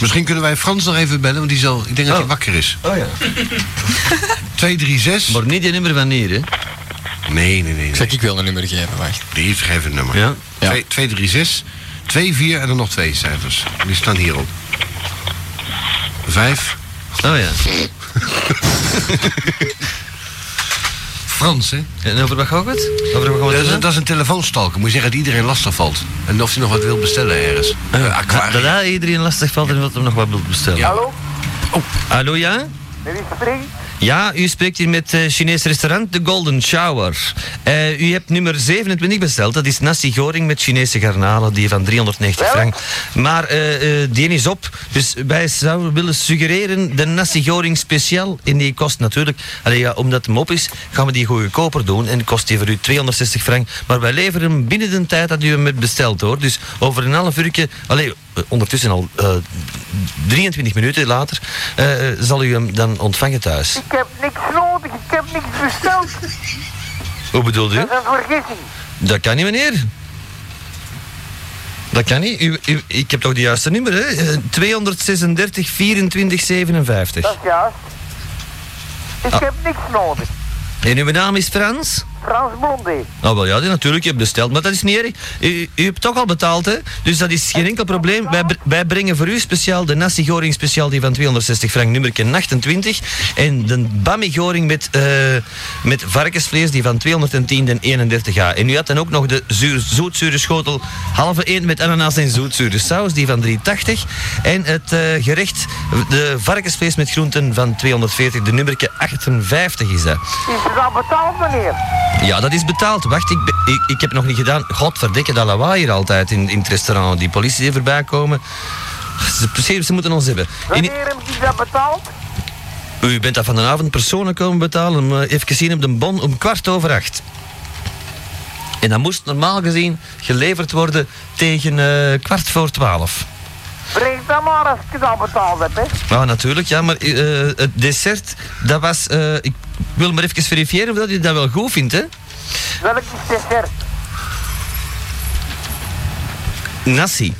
Misschien kunnen wij Frans nog even bellen, want die zal, ik denk dat hij Oh. wakker is. Oh ja. 236? Maar niet je nummer van hier, hè? Nee, nee, nee. nee. Zeg, ik wil een nummer geven, wacht. Die geef een nummer. Ja? Ja. 236, 24 en dan nog twee cijfers. Die staan hierop. 5. Oh ja. Frans, hè? En over wat gaat het? Over wat Dat gaat is, het? dat is een telefoonstalker. Moet je zeggen dat iedereen lastig valt. En of hij nog wat wil bestellen ergens. Eh, Ja, Dat aquarium. hij iedereen lastig valt en wat hem nog wat wilt bestellen. Hallo, Hallo, ja? dit is Spring. Ja, u spreekt hier met eh Chinees restaurant The Golden Shower. Eh, u hebt nummer 27 besteld. Dat is nasi goring met Chinese garnalen, die van 390 frank. Maar eh, eh, die is op. Dus wij zouden willen suggereren de nasi goring speciaal. En die kost natuurlijk, allee, ja, omdat hem op is, gaan we die goedkoper doen. En kost die voor u 260 frank. Maar wij leveren hem binnen de tijd dat u hem hebt besteld hoor. Dus over een half uurtje, allee, eh, ondertussen al eh, 23 minuten later, eh, eh, zal u hem dan ontvangen thuis. Ik heb niks nodig, ik heb niks besteld. Hoe bedoelt u? Dat is een vergissing. Dat kan niet, meneer. Dat kan niet. U, u- ik heb toch de juiste nummer, hè? Eh, 236 24 Dat 57. is juist. Ik heb niks nodig. En uw naam is Frans? Frans Blondé. Nou wel, ja, die natuurlijk. Je hebt besteld, maar dat is niet erg. U, u hebt toch al betaald, hè? Dus dat is geen enkel probleem. Wij, br- wij brengen voor u speciaal de nasi goring speciaal, die van 260 frank, nummerken 28. En de bami goring met, eh, met varkensvlees, die van 210 en 31 a. En u had dan ook nog de zuur, zoetzure schotel halve eend met ananas en zoetzure saus, die van 380. En het eh, gerecht, de varkensvlees met groenten van 240, de nummerke 58 is dat. Is het al betaald, meneer? Ja, dat is betaald. Wacht, ik, be- ik, ik heb nog niet gedaan. Godverdikke, dat lawaai hier altijd in, in het restaurant. Die politie die voorbij komen. Ze, precies, ze moeten ons hebben. In- Wanneer heb je dat betaald? u bent dat van de avond personen komen betalen. maar Even gezien op de bon om kwart over acht. En dat moest normaal gezien geleverd worden tegen eh, kwart voor twaalf. Breng dat maar als ik het al betaald heb, hè. Nou, natuurlijk, ja, maar eh, eh, het dessert, dat was... eh, ik wil maar even verifiëren of dat u dat wel goed vindt, hè? Welk is dessert? Nasi.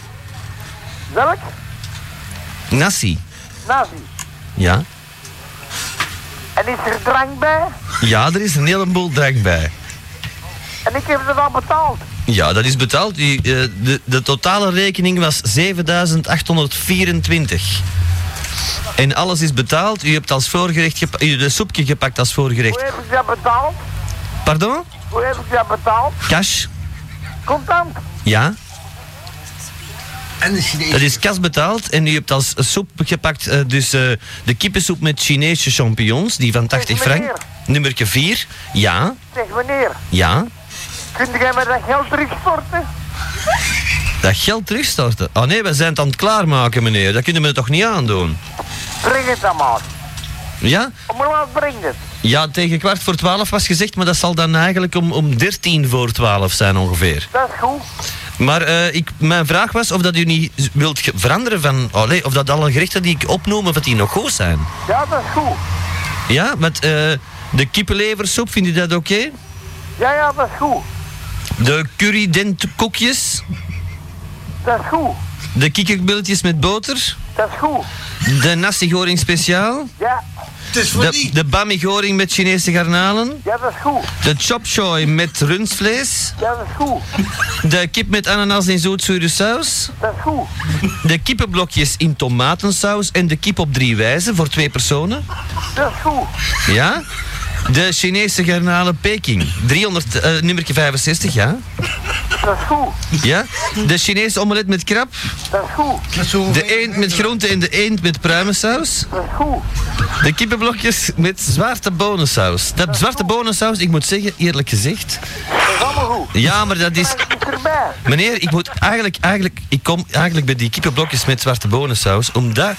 Welk? Nasi. Nazi. Ja. En is er drank bij? Ja, er is een heleboel drank bij. En ik heb het al betaald. Ja, dat is betaald. Die, eh, de, de totale rekening was 7824. En alles is betaald. U hebt als voorgerecht gepa- u de soepje gepakt als Hoe voorgerecht. heb ik dat betaald? Pardon? Hoe heb ik dat betaald? Cash? Contant. Ja, En de Chinees. dat is cash betaald. En u hebt als soep gepakt eh, dus eh, de kippensoep met Chinese champignons, die van 80 frank. meneer. Nummerke 4. Ja, Zeg, meneer, ja. kunt jij me dat geld terugstorten? Dat geld terugstorten. Oh nee, we zijn het aan het klaarmaken, meneer. Dat kunnen we toch niet aandoen? Breng het dan maar. Ja? Om laat breng het. Ja, tegen kwart voor twaalf was gezegd, maar dat zal dan eigenlijk om, om dertien voor twaalf zijn ongeveer. Dat is goed. Maar eh, ik, mijn vraag was of dat u niet z- wilt ge- veranderen van... Allee, of dat alle gerechten die ik opnoem, of dat die nog goed zijn. Ja, dat is goed. Ja, met eh, de kippenleversoep, vindt u dat oké? Ja, ja, dat is goed. De currydentkoekjes, Dat is goed. de kikkerbilletjes met boter, Dat is goed. de nasi goring speciaal, Ja, Het is voor de, die. de bami goring met Chinese garnalen, ja, dat is goed. de chop choy met rundvlees, Ja, dat is goed. de kip met ananas en zootzure saus... Dat is goed. De kippenblokjes in tomatensaus en de kip op drie wijzen voor twee personen. Dat is goed. Ja? De Chinese garnalen Peking. 300, eh nummertje 65, ja? Dat is goed. Ja? De Chinese omelet met krab. Dat is goed. De eend met groente en de eend met pruimensaus. Dat is goed. De kippenblokjes met zwarte bonensaus. Dat zwarte bonensaus, ik moet zeggen, eerlijk gezegd. Dat is allemaal goed. Ja, maar dat is. Frank is erbij. Meneer, ik moet eigenlijk, eigenlijk. Ik kom eigenlijk bij die kippenblokjes met zwarte bonensaus. Omdat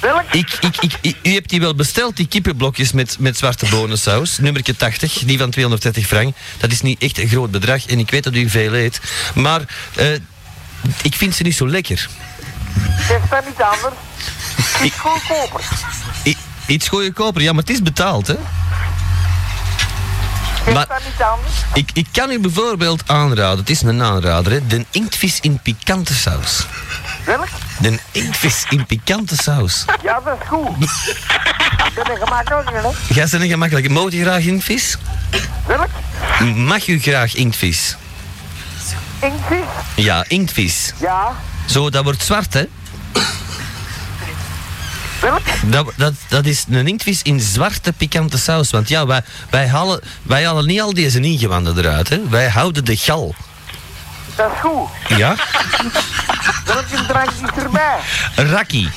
Welk? Ik, ik, ik, ik- u hebt die wel besteld, die kippenblokjes met, met zwarte bonensaus. Nummerke 80, die van 230 frank. Dat is niet echt een groot bedrag en ik weet dat u veel eet. Maar eh, ik vind ze niet zo lekker. Zeg dat niet anders. Het is goedkoper. I- iets goedkoper, ja, maar het is betaald, hè? Zeg Maar- dat niet anders. Ik, ik kan u bijvoorbeeld aanraden, het is een aanrader, hè, de inktvis in pikante saus. Welk? Een inktvis in pikante saus. Ja, dat is goed. dat is gemakkelijk, hè? Jij bent een gemakkelijk. Mogen je graag inktvis? Welk? Mag u graag inktvis? Inktvis? Ja, inktvis. Ja. Zo, dat wordt zwart, hè? Welk? Dat, dat, dat is een inktvis in zwarte pikante saus. Want ja, wij, wij, halen, wij halen niet al deze ingewanden eruit, hè? Wij houden de gal. Dat is goed. Ja? Welk een drankje is erbij? Raki.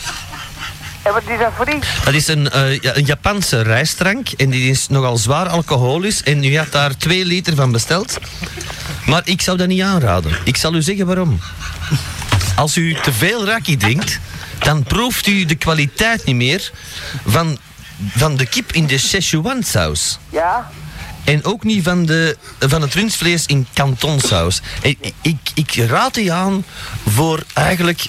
En wat is dat voor iets? Dat is een, eh, ja, een Japanse rijstdrank en die is nogal zwaar alcoholisch. En u had daar 2 liter van besteld. Maar ik zou dat niet aanraden. Ik zal u zeggen waarom. Als u te veel raki drinkt, dan proeft u de kwaliteit niet meer van, van de kip in de Szechuan saus. Ja. En ook niet van, de, van het rundvlees in kantonsaus. Ik, ik, ik raad u aan voor eigenlijk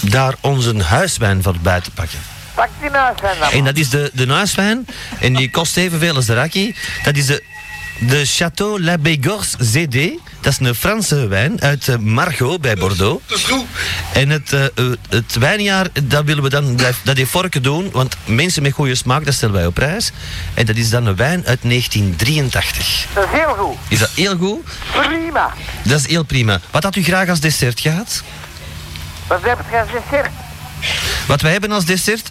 daar onze huiswijn voor bij te pakken. Pak die naast zijn dan. En dat is de, de naaswijn. En die kost evenveel als de rakkie. Dat is de, de Château La Bégorce ZD. Dat is een Franse wijn uit eh, Margot bij Bordeaux. Dat is goed. En het, eh, eh, het wijnjaar, dat willen we dan blijf- dat in vorken doen. Want mensen met goede smaak, dat stellen wij op prijs. En dat is dan een wijn uit 1983. Dat is heel goed. Is dat heel goed? Prima. Dat is heel prima. Wat had u graag als dessert gehad? Wat heb je gezegd? Wat wij hebben als dessert?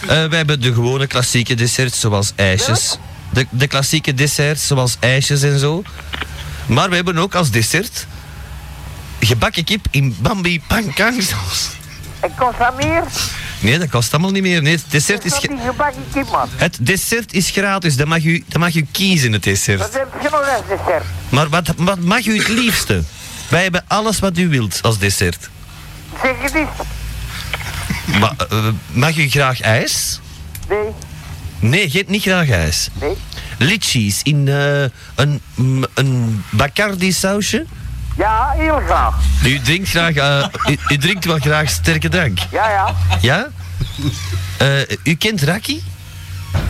Eh wij hebben de gewone klassieke desserts zoals ijsjes. De, de klassieke desserts zoals ijsjes en zo. Maar we hebben ook als dessert gebakken kip in Bambi pankang saus. En kost dat meer? Nee, dat kost allemaal niet meer. Nee, het dessert is, Is dat ge- die gebakken kip, man? het dessert is gratis. Dat mag, u, dat mag u kiezen, het dessert. Wat heb je nog als dessert? Maar wat, wat mag u het liefste? Wij hebben alles wat u wilt als dessert. Zeg het eens. Ma- eh, mag u graag ijs? Nee, Nee, geet niet graag ijs. nee. litchis in eh, een, mm, een Bacardi sausje. Ja, heel graag. U drinkt graag, eh, u, u drinkt wel graag sterke drank, Ja, ja. ja? Eh, u kent raki?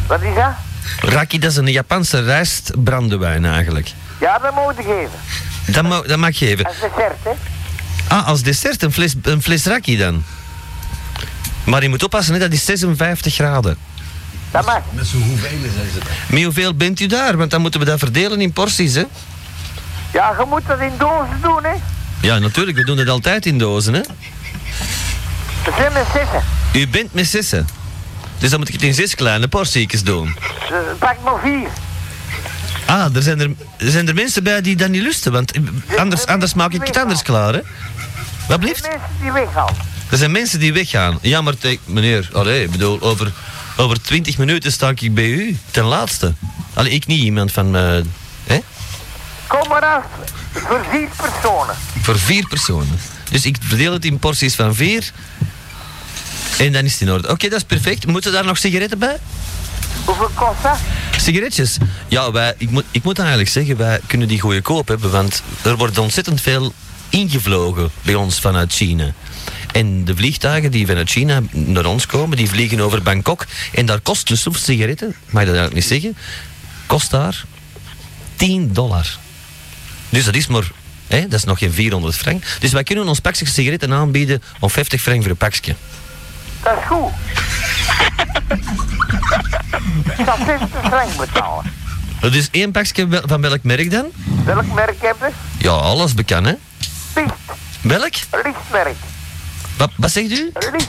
Wat is dat? Raki, dat is een Japanse rijstbrandewijn eigenlijk. Ja, dat moet je geven. Dat, ma dat mag je even. Als dessert, hè. Ah, als dessert een fles, een fles raki dan. Maar je moet oppassen, hè, dat is 56 graden. Dat mag. Met zo'n hoeveel zijn ze Maar hoeveel bent u daar? Want dan moeten we dat verdelen in porties, hè? Ja, je moet dat in dozen doen, hè. Ja, natuurlijk, we doen dat altijd in dozen, hè? Dat zijn er zessen. U bent met zessen. Dus dan moet ik het in zes kleine portiekjes doen. Dus Pak maar vier. Ah, er zijn er, er zijn er mensen bij die dat niet lusten, want eh, anders, anders maak ik het anders klaar, hè? Wat De blieft? mensen die weggaan. Er zijn mensen die weggaan. Jammer, te- meneer. Allee, ik bedoel, over, over 20 minuten sta ik bij u, ten laatste. Allee, ik niet, iemand van... eh, hè? Kom maar af. Voor vier personen. Voor vier personen. Dus ik verdeel het in porties van vier. En dan is het in orde. Oké, dat is perfect. Moeten daar nog sigaretten bij? Hoeveel kost dat? Sigaretjes? Ja, wij, ik, moet, ik moet eigenlijk zeggen, wij kunnen die goede koop hebben, want er wordt ontzettend veel ingevlogen bij ons vanuit China. En de vliegtuigen die vanuit China naar ons komen, die vliegen over Bangkok. En daar kost een soef sigaretten, mag je dat eigenlijk niet zeggen, kost daar 10 dollar. Dus dat is maar, hè, dat is nog geen 400 frank. Dus wij kunnen ons pakje sigaretten aanbieden om 50 frank voor een pakje. Dat is goed. Ik zal 70 frank betalen. Dat is één pakje wel- van welk merk dan? Welk merk heb je? Ja, alles bekend, hè? Licht. Welk? Lichtmerk. Wat, wat zegt u? Licht.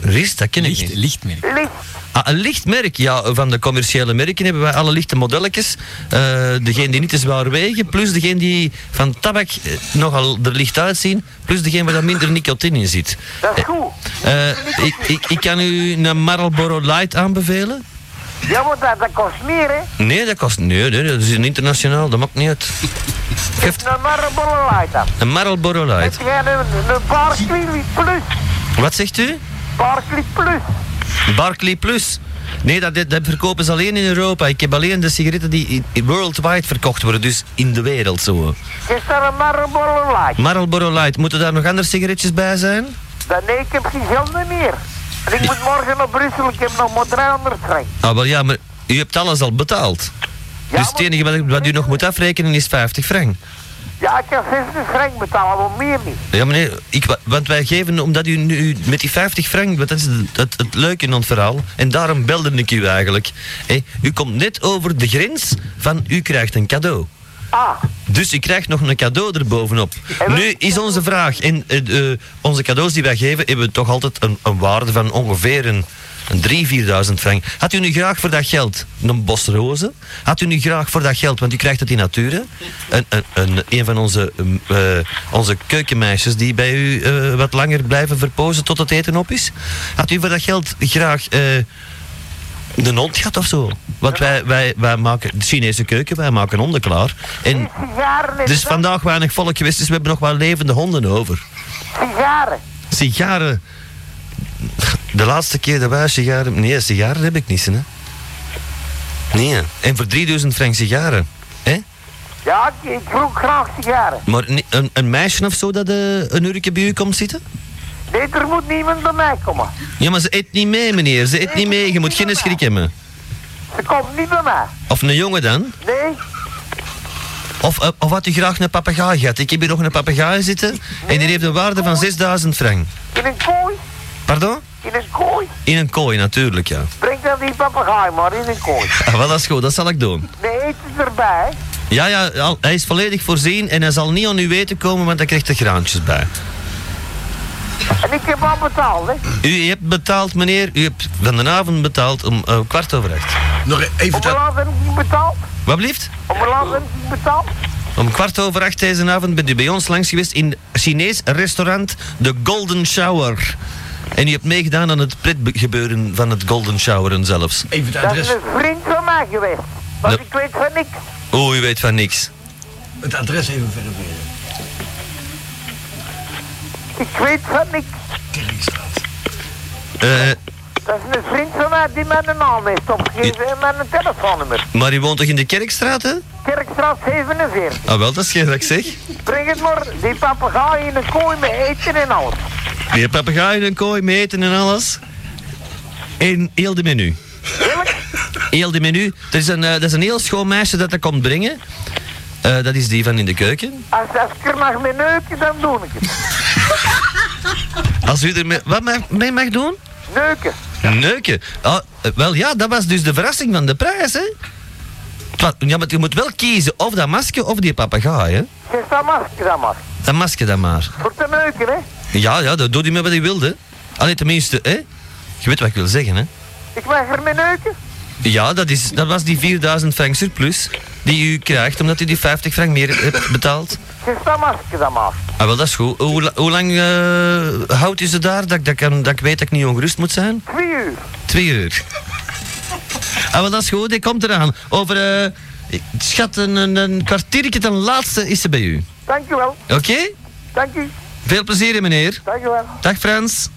Rist, dat ken ik Licht, niet. lichtmerk. Licht. Ah, een lichtmerk, ja, van de commerciële merken hebben wij alle lichte modelletjes. Eh, degene die niet te zwaar wegen, plus degene die van tabak eh, nogal er licht uitzien, plus degene waar daar minder nicotine in zit. Dat is goed. Eh, ik, ik, ik kan u een Marlboro Light aanbevelen. Ja, want dat, dat kost meer, hè. Nee, dat kost... Nee, nee, dat is een internationaal, dat maakt niet uit. Geeft Een marble light aan. een Marlboro Light. Het gaat een, een Barclay Plus. Wat zegt u? Barclay Plus. Barclay Plus. Nee, dat, dat verkopen ze alleen in Europa. Ik heb alleen de sigaretten die in- in- worldwide verkocht worden, dus in de wereld zo. Is daar een marble light? Marlboro Light, moeten daar nog andere sigaretjes bij zijn? Dan nee, ik heb geen geld meer. En ik moet morgen naar Brussel, ik heb nog maar 300 frank. Ah, wel ja, maar u hebt alles al betaald. Ja, dus het maar- enige wat, wat u nog moet afrekenen is 50 frank. Ja, ik kan 60 frank betalen, maar meer niet. Ja, meneer, ik, wa- want wij geven, omdat u nu met die 50 frank, want dat is het, het, het leuke in ons verhaal, en daarom belde ik u eigenlijk. Hé, u komt net over de grens van u krijgt een cadeau. Ah, Dus u krijgt nog een cadeau erbovenop. En wat- Nu is onze vraag, en eh, eh, onze cadeaus die wij geven, hebben toch altijd een, een waarde van ongeveer een, een 3.000, 4.000 frank. Had u nu graag voor dat geld een bos rozen? Had u nu graag voor dat geld, want u krijgt het in nature, een, een, een, een van onze, eh, onze keukenmeisjes die bij u eh, wat langer blijven verpozen tot het eten op is? Had u voor dat geld graag... eh, een hond gehad of zo. Want wij, wij, wij maken de Chinese keuken, wij maken honden klaar. En die sigaren en er is dat, Dus vandaag weinig volk geweest, dus we hebben nog wel levende honden over. sigaren. Sigaren. De laatste keer dat wij sigaren... Nee, sigaren heb ik niet, hè. Nee. En voor 3000 frank sigaren. hè? Ja, ik, ik rook graag sigaren. Maar ni- een, een meisje of zo dat eh, een uurtje bij u komt zitten? Nee, er moet niemand bij mij komen. Ja, maar ze eet niet mee, meneer. Ze eet niet mee. Je moet geen schrik hebben. Ze komt niet bij mij. Of een jongen dan. Nee, Of, eh, of had u graag een papegaai gehad? Ik heb hier nog een papegaai zitten. En die heeft een waarde van 6000 frank. in een kooi. Pardon? In een kooi. In een kooi, natuurlijk, ja. Breng dan die papegaai maar in een kooi. Ah, wel, dat is goed. Dat zal ik doen. De eten erbij. Ja, ja, al- hij is volledig voorzien en hij zal niet aan uw weten komen, want hij krijgt er graantjes bij. En ik heb al betaald, hè. U hebt betaald, meneer, u hebt van de avond betaald om eh, kwart over acht. Nog even Om een dat... laat heb ik niet betaald. Wat blieft? Om een laat heb ik niet betaald. Om kwart over acht deze avond bent u bij ons langs geweest in Chinees restaurant The Golden Shower. En u hebt meegedaan aan het pretgebeuren van het Golden Showeren zelfs. Even het Dat is adres, een vriend van mij geweest. Maar Ja. ik weet van niks. Oh, u weet van niks. het adres even verder verder. Ik weet van niks. Kerkstraat. Eh, Dat is een vriend van mij die mijn naam heeft opgegeven en mijn telefoonnummer. maar u woont toch in de Kerkstraat, hè? Kerkstraat 47. Ah, wel, dat is geen dat ik zeg. Breng het maar, die papegaai in een kooi met eten en alles. Die heeft papegaaien en kooi, met eten en alles. En heel de menu. Heel de menu. Er is een, eh, dat is een heel schoon meisje dat dat komt brengen. Eh, dat is die van in de keuken. Als, als ik er mag mee neuken, dan doe ik het. Als u er mee, wat mag- mee mag doen? Neuken. Neuken. Ah, eh, wel ja, dat was dus de verrassing van de prijs, hè? Het wa- Ja, maar je moet wel kiezen of dat masker of die papegaai, hè? Zeg dat masker dan maar. Dat masker dan maar. Voor te neuken, hè. Ja, ja, dat doet hij met wat hij wilde. Allee, tenminste, hè? Je weet wat ik wil zeggen, hè? Ik mag er mee neuken. Ja, dat, is, dat was die 4000 frank surplus die u krijgt omdat u die 50 frank meer hebt betaald. Zeg dat masker dan maar. Ah, wel, dat is goed. Hoe, la- hoe lang eh, houdt u ze daar? Dat, ik- dat, kan, dat ik weet dat ik niet ongerust moet zijn? Twee uur. Twee uur. Ah, wel, dat is goed. Die komt eraan. Over, eh, schat, een, een, een kwartiertje ten laatste is ze bij u. Dank u wel. Oké? Dank u. Veel plezier, meneer. Dank u wel. Dag, Frans.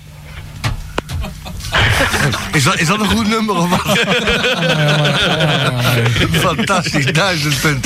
Is dat, is dat een goed nummer of wat? Fantastisch, duizend punten.